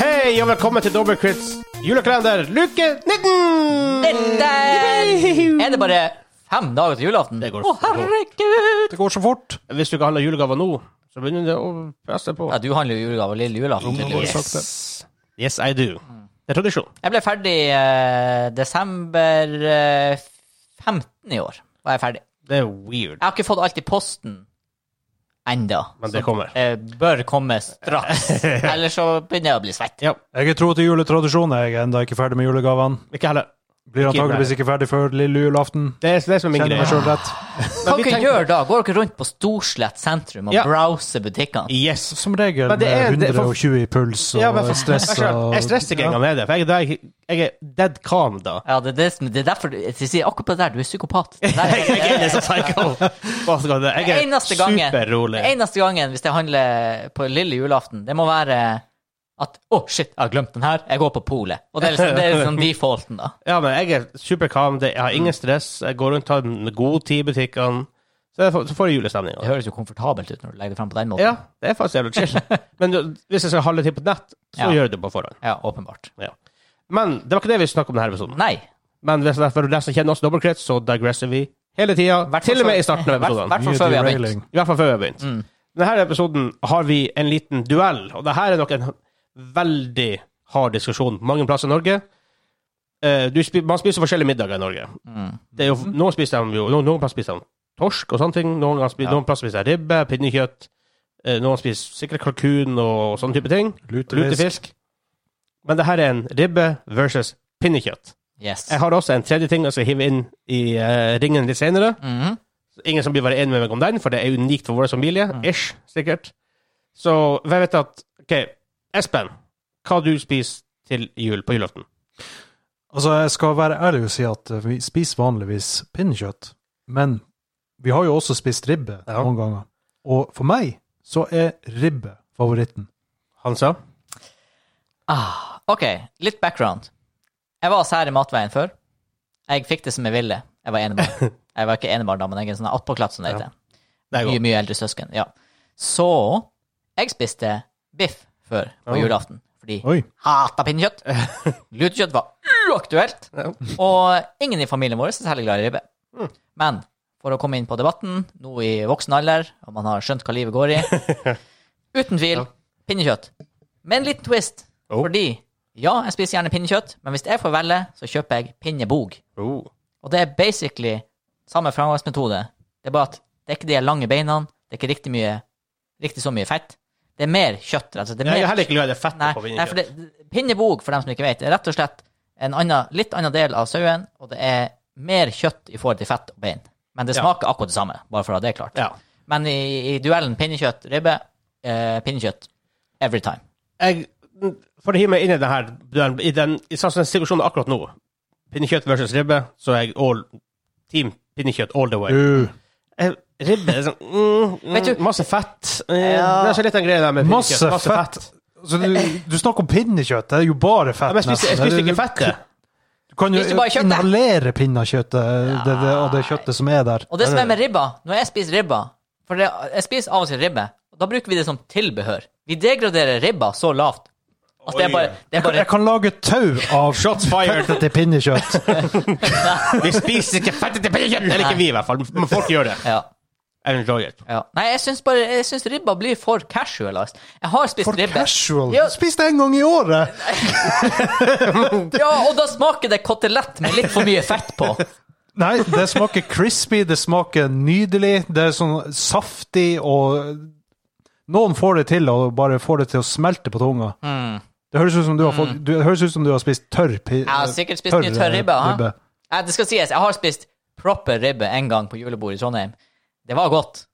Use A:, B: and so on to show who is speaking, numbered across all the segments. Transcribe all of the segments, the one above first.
A: Hei, og velkommen til Dobbelkrits julekalender luke 19!
B: Etter Er det bare fem dager til julaften?
A: Det går
B: Å,
A: så fort.
B: herregud!
C: Det går så fort.
A: Hvis du ikke handler julegaver nå, så begynner det å presse på.
B: Ja, du handler jo julegaver lille julaften.
C: Nå må
B: tydeligvis.
C: du sagt det.
A: Yes, I do. Det er tradisjon.
B: Jeg ble ferdig eh, desember eh, 15 i år. Var jeg ferdig.
A: Det er weird,
B: Jeg har ikke fått alt i posten enda.
A: men det kommer.
B: Eh, bør komme straks. Ellers så begynner jeg å bli svett.
A: Ja,
C: Jeg er tro til juletradisjoner. Jeg er ennå ikke ferdig med julegavene.
A: ikke heller.
C: Blir
A: Ikke
C: antakeligvis ikke ferdig før lille julaften.
A: Det er det som er min
C: Kjenner
A: greie.
C: meg sjøl rett.
B: Hva
A: vi
B: dere
A: tenker-
B: gjør da? Går dere rundt på Storslett sentrum og
A: Ja.
B: browser butikkene?
A: Yes.
C: Som regel
A: Men det er-
C: med
A: det er for-
C: 120 i puls og
A: Ja, men for-
C: stress
A: jeg skjønner-
C: og
A: Jeg stresser ikke engang med det, for jeg, er da- jeg, jeg er dead calm da.
B: Ja, det er, det, som- det er derfor jeg sier akkurat på det der, du er psykopat. Det der
A: Jeg er litt sånn psycho. Hva skal det- Jeg er
B: eneste gangen,
A: superrolig.
B: Den eneste gangen hvis jeg handler på lille julaften, det må være at Å, shit, jeg har glemt den her. Jeg går på polet. Og det er liksom, det er liksom defaulten, da.
A: Ja, men jeg er superkalm, det- jeg har ingen stress, jeg går rundt og tar en god tid i butikkene, så, jeg får- så får jeg julestemning. altså.
B: Det høres jo komfortabelt ut når du legger det frem på den måten.
A: Ja, det er faktisk jævlig chill. Men du, hvis jeg skal handle ting på nett, så
B: Ja.
A: gjør jeg det på forhånd.
B: Ja, åpenbart.
A: Ja. Men det var ikke det vi snakket om denne episoden.
B: Nei.
A: Men hvis det er for deg som kjenner oss dobbeltkrets, så digresser vi hele tida, til og med i starten av
B: hvert
A: episoden.
B: hvert fall Mm. før vi har begynt.
A: I hvert fall før vi har begynt. Denne episoden har vi en liten duell, og det her er nok en veldig hard diskusjon på mange plasser i Norge. Eh, du spi man spiser forskjellige middager i Norge.
B: Mm.
A: Det er jo, noen spiser de jo noen, noen plasser spiser de torsk og sånne ting. Noen, ganger spi-
B: Ja.
A: noen plasser spiser de ribbe, pinnekjøtt. eh, noen spiser sikkert kalkun og sånne type ting.
C: lutefisk.
A: Lutefisk. Men det her er en ribbe versus pinnekjøtt.
B: Yes.
A: Jeg har også en tredje ting jeg skal hive inn i eh, ringen litt senere.
B: Mhm.
A: Ingen som blir bare enig med meg om den, for det er unikt for vår familie.
B: Mm.
A: Ish, sikkert. Så jeg vet at OK, Espen, hva du spiser til jul på julaften?
C: Altså, jeg skal være ærlig og si at eh, vi spiser vanligvis pinnekjøtt, men vi har jo også spist ribbe
A: Ja.
C: noen ganger. Og for meg så er ribbe favoritten.
A: Han sa?
B: Ah, OK, litt background. Jeg var sær i matveien før. Jeg fikk det som jeg ville. Jeg var enebarn. Jeg var ikke enebarn da, men jeg er en sånn attpåklatt, som det
A: Ja.
B: heter.
A: Det er
B: Mye,
A: godt.
B: mye eldre søsken. Ja. Så jeg spiste biff før på
A: Ja.
B: julaften. Fordi
C: Oi.
B: hata pinnekjøtt. Lutekjøtt var uaktuelt.
A: Ja. Mm.
B: Og ingen i familien vår er særlig glad i ribbe. Men for å komme inn på debatten, nå i voksen alder, og man har skjønt hva livet går i Uten tvil pinnekjøtt. Med en liten twist.
A: Oh.
B: Fordi ja, jeg spiser gjerne pinnekjøtt, men hvis jeg får velge, så kjøper jeg pinnebog.
A: Oh.
B: Og det er basically samme framgangsmetode. Det er bare at det er ikke de lange beina, det er ikke riktig, mye, riktig så mye fett. Det er mer kjøtt. Altså. Det er
A: Jeg
B: mer
A: er heller ikke glad i det fettet
B: Nei,
A: på
B: nei, for
A: pinnekjøtt.
B: det, pinnebog, for dem som ikke vet, er rett og slett en annen, litt annen del av sauen, og det er mer kjøtt i forhold til fett og bein. Men det
A: Ja.
B: smaker akkurat det samme, bare for å ha det klart.
A: Ja.
B: Men i, i duellen pinnekjøtt-ribbe, eh, pinnekjøtt every time.
A: Jeg, for å hive meg inn i det her, den- i den, i sånn som den situasjonen akkurat nå, pinnekjøtt versus ribbe, så er jeg all, team pinnekjøtt all the way.
C: Du,
A: Eh, Ribbe er sånn mm, mm,
B: Vet du-
A: Masse fett. Eh,
B: Ja.
A: Det er så litt den greia der med
C: masse
A: pinnekjøtt.
C: fett! Altså, du, du snakker om pinnekjøtt, det er jo bare
A: Ja,
C: fett.
A: men jeg spiste, jeg
C: nesten.
A: spiste
C: Du-
A: ikke fettet.
C: Du kan jo
B: Spiste bare kjøttet.
C: inhalere pinnekjøttet, det, det, og det kjøttet som er der.
B: Og det som er med ribba, når jeg spiser ribba For det, jeg spiser av og til ribbe, og da bruker vi det som tilbehør. Vi degraderer ribba så lavt at det er bare, det er bare
C: Jeg kan lage tau av
A: Shots fired.
C: fettet til pinnekjøtt.
A: Vi spiser ikke fettet til pinnekjøtt! Eller ikke vi, i hvert fall. Men folk gjør det.
B: ja,
A: Jeg enjoy it.
B: ja. Nei, jeg syns bare Jeg syns ribba blir for casualized. Jeg har spist
C: For
B: ribbe.
C: casual!
B: Ja.
C: Spis det en gang i året!
B: Ja, og da smaker det kotelett med litt for mye fett på.
C: Nei, det smaker crispy, det smaker nydelig, det er sånn saftig og Noen får det til og bare får det til å smelte på tunga. Det høres ut som du har, fått, du, det høres ut som du har spist tørr pi-
B: Mm. Jeg har sikkert spist mye tørr ribbe. ha? Nei, det skal sies, jeg har spist proper ribbe en gang på julebord i Trondheim. Det var godt,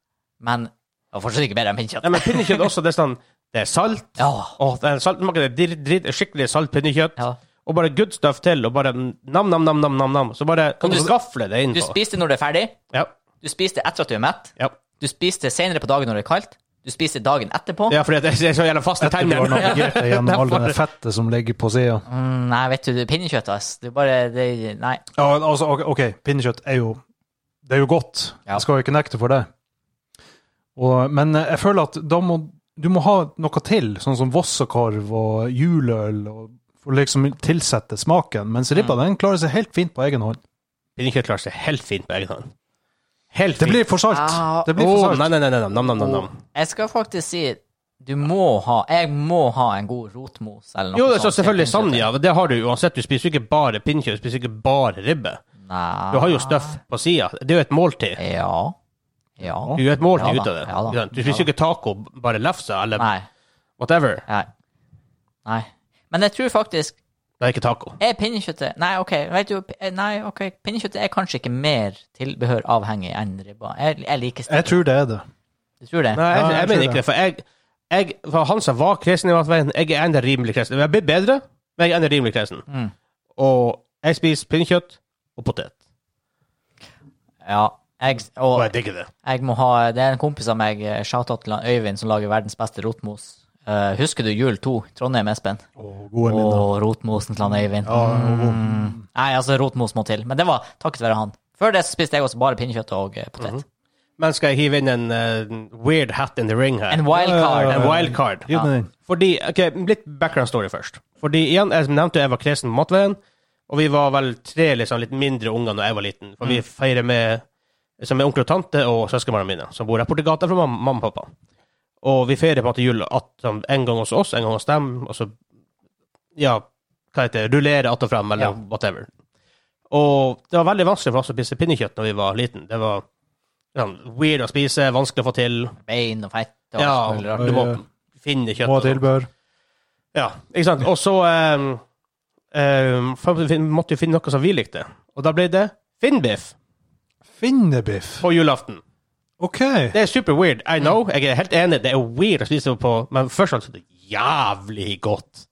B: men det var fortsatt ikke bedre enn
A: Nei,
B: pinnekjøtt.
A: men pinnekjøtt også, det er sånn Det er salt.
B: Ja.
A: Åh, det er salt det er dritt, dritt, skikkelig salt pinnekjøtt.
B: Ja.
A: Og bare good stuff til, og bare nam-nam-nam-nam-nam. Så bare kan du
B: Og du-
A: skafle det
B: Du
A: innpå.
B: spiste når du er ferdig,
A: Ja.
B: du spiste etter at du er mett,
A: Ja.
B: Du spiste senere på dagen når det er kaldt. Du spiste dagen etterpå.
A: ja, for det er så jævla fast i
C: Du har
A: termen.
C: navigert deg gjennom all det fettet som ligger på sida.
B: Mm, nei, vet du, det er pinnekjøtt, ass. Det er bare det, Nei.
C: Ja, altså, ok, ok, pinnekjøtt er jo det er jo godt.
B: Ja.
C: Jeg skal jo ikke nekte for det. Og, men eh, jeg føler at da må du må ha noe til, sånn som vossekorv og juleøl, og, for å liksom tilsette smaken. Mens ribba
A: Mm.
C: den klarer seg helt fint på egen hånd.
A: Pinnekjøtt klarer seg helt fint på egen hånd. Helt
C: Det
A: fint.
C: blir for salt!
B: Ah,
C: Det blir for
A: Åh,
C: salt.
A: nei, nei, nei, nei, nam, nam, nam, nam.
B: Jeg skal faktisk si du må ha Jeg må ha en god rotmos eller noe
A: Jo,
B: sånt
A: så
B: til
A: selvfølgelig
B: pinnekjøttet.
A: Sandia. Det har du jo uansett. Du spiser jo ikke bare pinnekjøtt, du spiser ikke bare ribbe.
B: Nei
A: Du har jo stuff på sida. Det er jo et måltid.
B: Ah. Ja. Ja.
A: Du gjør et måltid
B: Ja da,
A: ut av det.
B: ja da,
A: Ikke sant? du
B: ja
A: spiser
B: da.
A: jo ikke taco, bare lefse eller
B: Nei.
A: whatever.
B: Nei. Nei. Men jeg tror faktisk
A: Det er ikke taco.
B: Er pinnekjøttet Nei, OK, vet du p- Nei, ok, pinnekjøttet er kanskje ikke mer tilbehør avhengig enn ribba. Jeg, jeg liker
C: Jeg tror det er det.
B: Du tror det?
A: Nei, jeg,
C: Ja,
A: jeg,
C: jeg tror
A: mener ikke
C: det.
A: det, for jeg, jeg for Hansa var kresen i matveien. Jeg er enda rimelig kresen. Jeg blir bedre, men jeg er enda rimelig kresen.
B: Mm.
A: Og jeg spiser pinnekjøtt og potet.
B: Ja. Jeg, og
A: Og jeg digger det.
B: Jeg må ha, det er en kompis av meg, eh, shoutout til han Øyvind, som lager verdens beste rotmos. Eh, husker du jul 2, Trondheim Espen?
C: Å, gode minner.
B: Og rotmosen til han Øyvind. Mm. Nei, altså, rotmos må til. Men det var takket være han. Før det så spiste jeg også bare pinnekjøtt og eh, potet.
C: Mhm.
A: Men skal jeg hive inn en eh, weird hat in the ring her?
B: En wildcard.
C: Ja, ja,
A: En
C: ja.
A: wildcard.
C: Gi den inn.
A: Fordi, ok, Litt background story først. Fordi igjen, Jeg nevnte jo jeg var kresen på matveien, og vi var vel tre liksom, litt mindre unger da jeg var liten. For
B: Mm.
A: vi feirer med som er onkel og tante og søskenbarna mine, som bor her borti gata fra mam- mamma og pappa. Og vi feirer på en måte jul at, sånn, en gang hos oss, en gang hos dem, og så ja, hva heter det, rullere att og frem, eller
B: Ja.
A: whatever. Og det var veldig vanskelig for oss å spise pinnekjøtt når vi var liten. Det var sånn, weird å spise, vanskelig å få til.
B: Bein og fett og
A: Ja,
B: alt mulig rart.
A: du må
C: Ja.
A: finne kjøtt.
C: Og
A: og sånn. sånt.
C: tilbør.
A: Ja, ikke sant? Og så ehm, ehm, for vi fin- måtte vi finne noe som vi likte. Og da ble det finnbiff
C: Finnebiff.
A: på julaften.
C: OK.
A: Det er super weird. I know, jeg er helt enig. Det er weird å spise på, men først og fremst er det jævlig godt.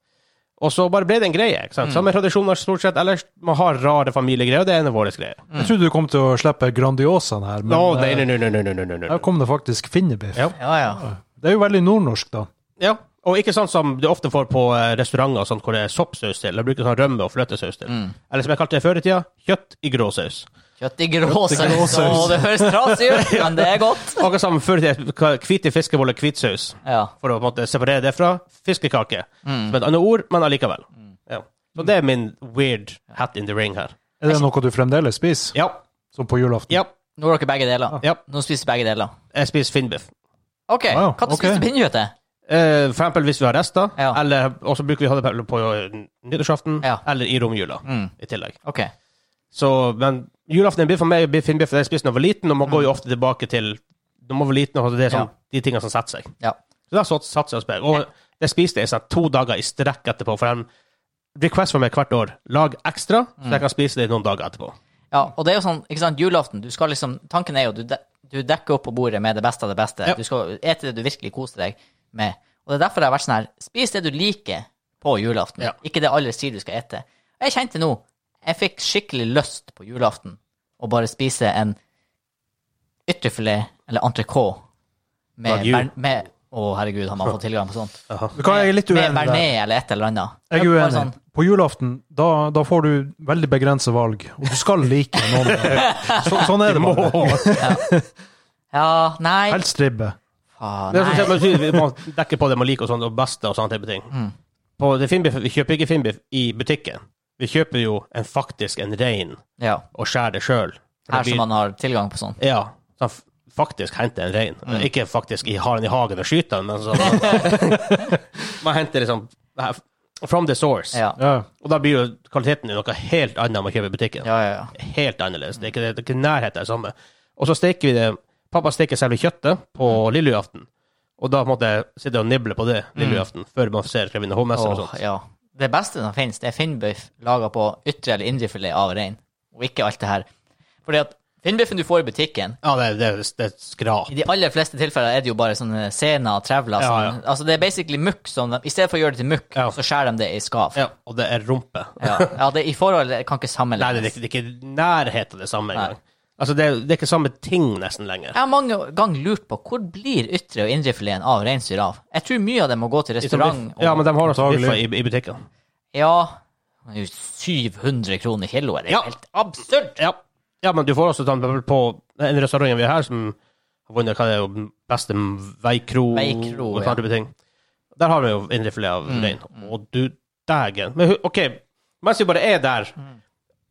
A: Og så bare ble det en greie. ikke sant? Samme tradisjoner stort sett ellers. Man har rare familiegreier, og det er en av våre greier.
C: Jeg trodde du kom til å slippe Grandiosaen her, men
A: Nå, Mm. nei,
C: eh,
A: nei, nei, nei, nei, nei, nei, nei.
C: her kom det faktisk finnebiff.
A: Ja.
B: Ja, ja.
C: Det er jo veldig nordnorsk, da.
A: Ja, og ikke sånn som du ofte får på eh, restauranter og sånt, hvor det er soppsaus til. De bruker sånn rømme og fløtesaus til. Eller som jeg kalte det før i tida, kjøtt i gråsaus.
B: Kjøtt i gråsaus.
C: gråsaus.
B: Og det høres trasig ut, men det er godt.
A: Akkurat som før i tida, hvite fiskeboller, hvitsaus.
B: Ja.
A: for å på en måte separere det fra fiskekake.
B: Mm.
A: Som et annet ord, men allikevel. Ja. Så det er min weird hat in the ring her.
C: Er det noe du fremdeles spiser,
A: Ja.
C: som på julaften?
A: ja.
B: Nå har dere begge deler.
A: Ja.
B: Nå spiser begge deler.
A: Jeg spiser finnbiff.
B: OK,
C: Wow,
B: hva
C: ok.
B: spiser du pinnekjøttet?
A: Eh, for eksempel hvis vi har rester,
B: Ja.
A: eller og så bruker vi ha det på eh, nyttårsaften,
B: Ja.
A: eller i romjula
B: Mm.
A: i tillegg.
B: OK.
A: Så, men julaften blir for meg blir finnbiff, for jeg spiste da jeg var liten, og
B: Mm.
A: man går jo ofte tilbake til når man var liten, og det er sånn, de tingene som setter seg.
B: Ja.
A: Så da satt- satser jeg og spør. Og det spiste jeg sånn, to dager i strekk etterpå, for en request for meg hvert år, lag ekstra, så
B: Mm.
A: jeg kan spise det noen dager etterpå.
B: Ja, og det er jo sånn, ikke sant, julaften, du skal liksom, tanken er jo, du, de, du dekker opp på bordet med det beste av det beste.
A: Ja.
B: Du skal ete det du virkelig koser deg med. Og det er derfor jeg har vært sånn her, spis det du liker på julaften,
A: Ja.
B: ikke det alle sier du skal ete. Og jeg kjente nå, jeg fikk skikkelig lyst på julaften, å bare spise en ytterfilet, eller entrecôte, med,
A: Dag jul.
B: bern- med å herregud, har man fått tilgang på sånt?
C: Vet du hva, jeg er litt
B: Med
C: uenig der.
B: bearnés eller et eller annet.
C: Jeg er
B: Bare
C: uenig.
B: sånn,
C: På julaften, da, da får du veldig begrenset valg, og du skal like noen. Så, sånn er det bare.
B: ja, nei,
C: Helst ribbe.
B: faen,
A: Det er
B: nei.
A: sånn, at man- man dekker på det man liker, og sånn, og beste og sånne type ting.
B: Mm.
A: På det finnbiff, vi kjøper ikke finnbiff i butikken. Vi kjøper jo en, faktisk en rein,
B: Ja,
A: og skjærer det sjøl.
B: her som man har tilgang på sånn.
A: Ja, så han f- faktisk henter en rein.
B: Mm.
A: Ikke faktisk i, har den i hagen og skyter den, men så Man henter liksom her- From the source.
B: Ja,
C: Ja.
A: Og da blir jo kvaliteten noe helt annet enn man kjøper i butikken.
B: ja, ja. ja.
A: Helt annerledes. Det er ikke, det er ikke nærhet av det samme. Og så steker vi det Pappa steker selve kjøttet på lille julaften. Og da måtte jeg sitte og nible på det lille julaften før man ser Krevin HMS og
B: Mm. Åh,
A: sånt.
B: ja. Det beste som finnes, det er finnbiff laga på ytre eller indre filet av rein, og ikke alt det her. Fordi at finnbiffen du får i butikken,
A: Ja, det, er- det, er- det er et skrap.
B: i de aller fleste tilfeller er det jo bare sånne sener og trevler.
A: Ja,
B: sånn- Altså det er basically mukk som de, I stedet for å gjøre det til mukk,
A: Ja.
B: så skjærer de det i skav.
A: Ja, og det er rumpe.
B: Ja. ja, det i forhold det kan ikke
A: Nei,
B: sammenlignes.
A: det er, ikke, det er ikke nærhet av det samme
B: Nei.
A: engang. Altså, det, er- det er ikke samme ting nesten lenger.
B: Jeg har mange ganger lurt på hvor blir ytre og indre fileten av reinsdyr av? Jeg tror mye av det må gå til restaurant. Og,
A: Ja, men de har også
C: Antagelig.
A: biffer i, i butikken.
B: ja, det er jo 700 kroner kiloet. Det er jo
A: Ja.
B: helt absurd!
A: Ja. Ja, men du får også ta den på en restaurant vi har her, som har vunnet hva det er jo beste veikro,
B: Veikro,
A: og
B: ja.
A: sånne type ting. Der har vi jo indrefilet av
B: Mm,
A: rein. Og du dægen. Men hu- OK, mens vi bare er der
B: Mm.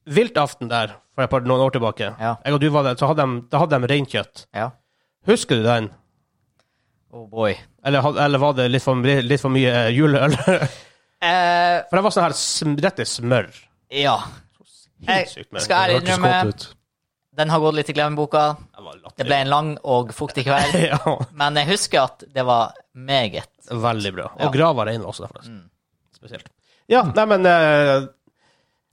A: Viltaften der for et par noen år tilbake,
B: Ja.
A: jeg og du var der, så hadde de, da hadde de reinkjøtt.
B: Ja.
A: Husker du den?
B: Oh boy.
A: Eller, had- eller var det litt for, litt for mye eh, juleøl? for
B: Eh,
A: det var sånn her sm- rett i smør.
B: ja. Jeg,
A: Sykt med.
B: skal jeg
C: Det hørtes
B: innrømme,
C: godt ut.
B: den har gått litt i glemmeboka.
A: Det var latterlig.
B: Det ble en lang og fuktig kveld.
A: ja,
B: Men jeg husker at det var meget.
A: veldig bra. Og
B: Ja. Mm.
A: grava rein var også der, forresten. Spesielt. Ja, nei, men eh,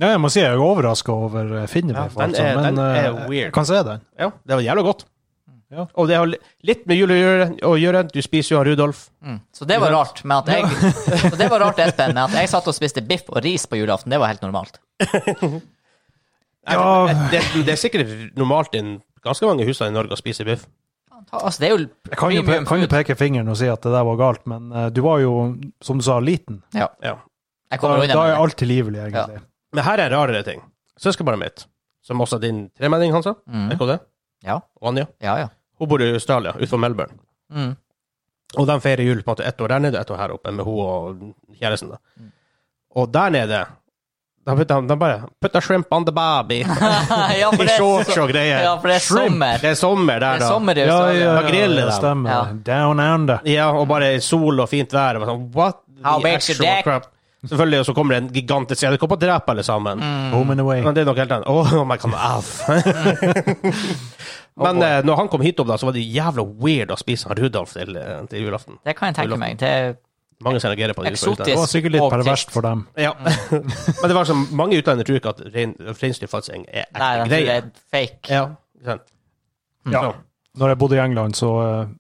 C: Ja, jeg må si jeg er overraska over eh, Finnmark,
A: Ja, den
C: altså,
A: er-
C: men
A: den er
C: eh,
A: weird.
C: jeg kan se den.
A: Ja, det var jævla godt.
C: Ja.
A: Og det har li- litt med jul å gjøre. Å gjøre. Du spiser jo han Rudolf.
B: Mm. Så det var rart, men at jeg, så det var rart Espen, men at jeg satt og spiste biff og ris på julaften. Det var helt normalt.
C: Ja.
A: Jeg- eh, Det, det er sikkert normalt i ganske mange hus i Norge å spise biff.
B: Altså, det er jo
C: Jeg kan jo, pe
B: premium
C: kan jo
B: food.
C: peke fingeren og si at det der var galt, men eh, du var jo, som du sa, liten.
B: Ja.
A: Ja.
B: Jeg
C: Da,
B: kommer
C: da er
B: unna med det.
C: alt tilgivelig, egentlig.
A: Men her er rarere ting. Søskenbarnet mitt, som også er din tremenning, Hansa,
B: Mm.
A: vet du det?
B: Ja.
A: og Anja,
B: Ja, ja.
A: hun bor i Australia, utenfor Melbourne.
B: Mm.
A: Og de feirer jul på en måte ett år der nede og ett år her oppe, med hun og kjæresten. da.
B: Mm.
A: Og der nede da putter de, de bare Put a shrimp on the baby.
B: ja, for
A: I
B: det er så-
A: shorts og greier.
B: Ja, for det er
A: Shrimp.
B: sommer.
A: Det er sommer der,
B: Det er
A: da.
B: sommer i
C: Ja,
B: Australia.
C: ja,
A: Da griller
C: ja,
A: de.
C: stemmer.
B: Ja.
C: Down under.
A: Ja, og bare sol og fint vær. Og bare sånn, what
B: How
A: the
B: bake's your
A: actual
B: dick?
A: crap? Selvfølgelig, og så kommer det en gigantisk edderkopp og dreper alle sammen.
B: Mm.
C: Home and away.
A: Men det er noe helt annet. Oh, oh my god, aff.
B: Oh
A: Men eh, når han kom hit opp, da, så var det jævla weird å spise han Rudolf til, eh, til julaften.
B: Det kan jeg tenke meg. Det er
A: Mange som reagerer på det.
B: Eksotisk. Mm.
A: utenlandet.
C: Det var sikkert litt
B: Og
C: perverst
B: trist.
C: for dem.
A: Ja. Men det var sånn, mange utlendinger tror ikke at rein- reinsdyrfatsing er ekte
B: Nei, jeg tror det
A: greier.
B: er fake.
A: Ja, ikke sant?
C: Ja.
A: Så,
C: Når jeg bodde i England, så eh,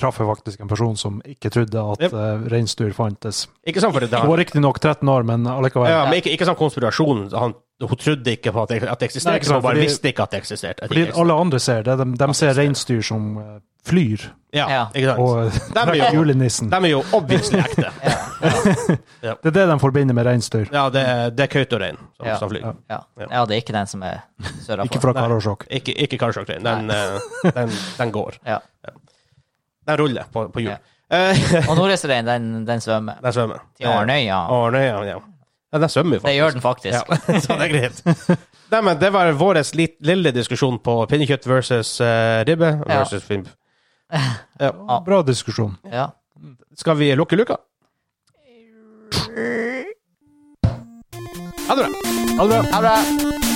C: traff jeg faktisk en person som ikke trodde at
A: Yep.
C: eh, reinsdyr fantes.
A: ikke sånn for det da.
C: Hun var riktignok 13 år, men allikevel.
A: Ja, men ikke, ikke sånn konspirasjon. Han, hun trodde ikke på at det, at det
C: Nei,
A: eksisterte,
C: ikke sant,
A: hun bare
C: fordi-
A: visste ikke at det eksisterte. At det
C: Fordi
A: ikke
C: alle andre ser det. De, de ser
A: ser det.
C: reinsdyr som eh, flyr,
A: Ja,
B: Ja.
A: ikke sant?
C: og
A: De er jo-
C: julenissen.
A: De er jo obviously ekte.
C: Det er det de forbinder med reinsdyr.
A: Ja, det, er- det er Kautokeino som,
B: Ja.
A: som flyr.
C: Ja.
B: Ja.
A: Ja.
B: ja, det er ikke den som er
C: Ikke
B: sørafor.
C: fra Karasjok.
A: Ikke, ikke Karasjokrein. Den, eh, den, den går.
B: Ja.
A: Den ruller på, på hjul.
B: Ja.
A: Eh,
B: Og nordøstreinen, den, den svømmer.
A: den svømmer.
B: Til Arnøya.
A: Arnøy, ja, ja. ja. Den svømmer jo
B: Det
A: faktisk.
B: gjør den faktisk.
A: Ja, så det er greit. Nei, men det var vår lille diskusjon på pinnekjøtt versus eh, ribbe
B: Ja.
A: versus film.
B: Ja.
C: Bra diskusjon.
B: Ja.
A: Skal vi lukke luka? Ha det bra.
C: Ha det bra.
B: Ha det.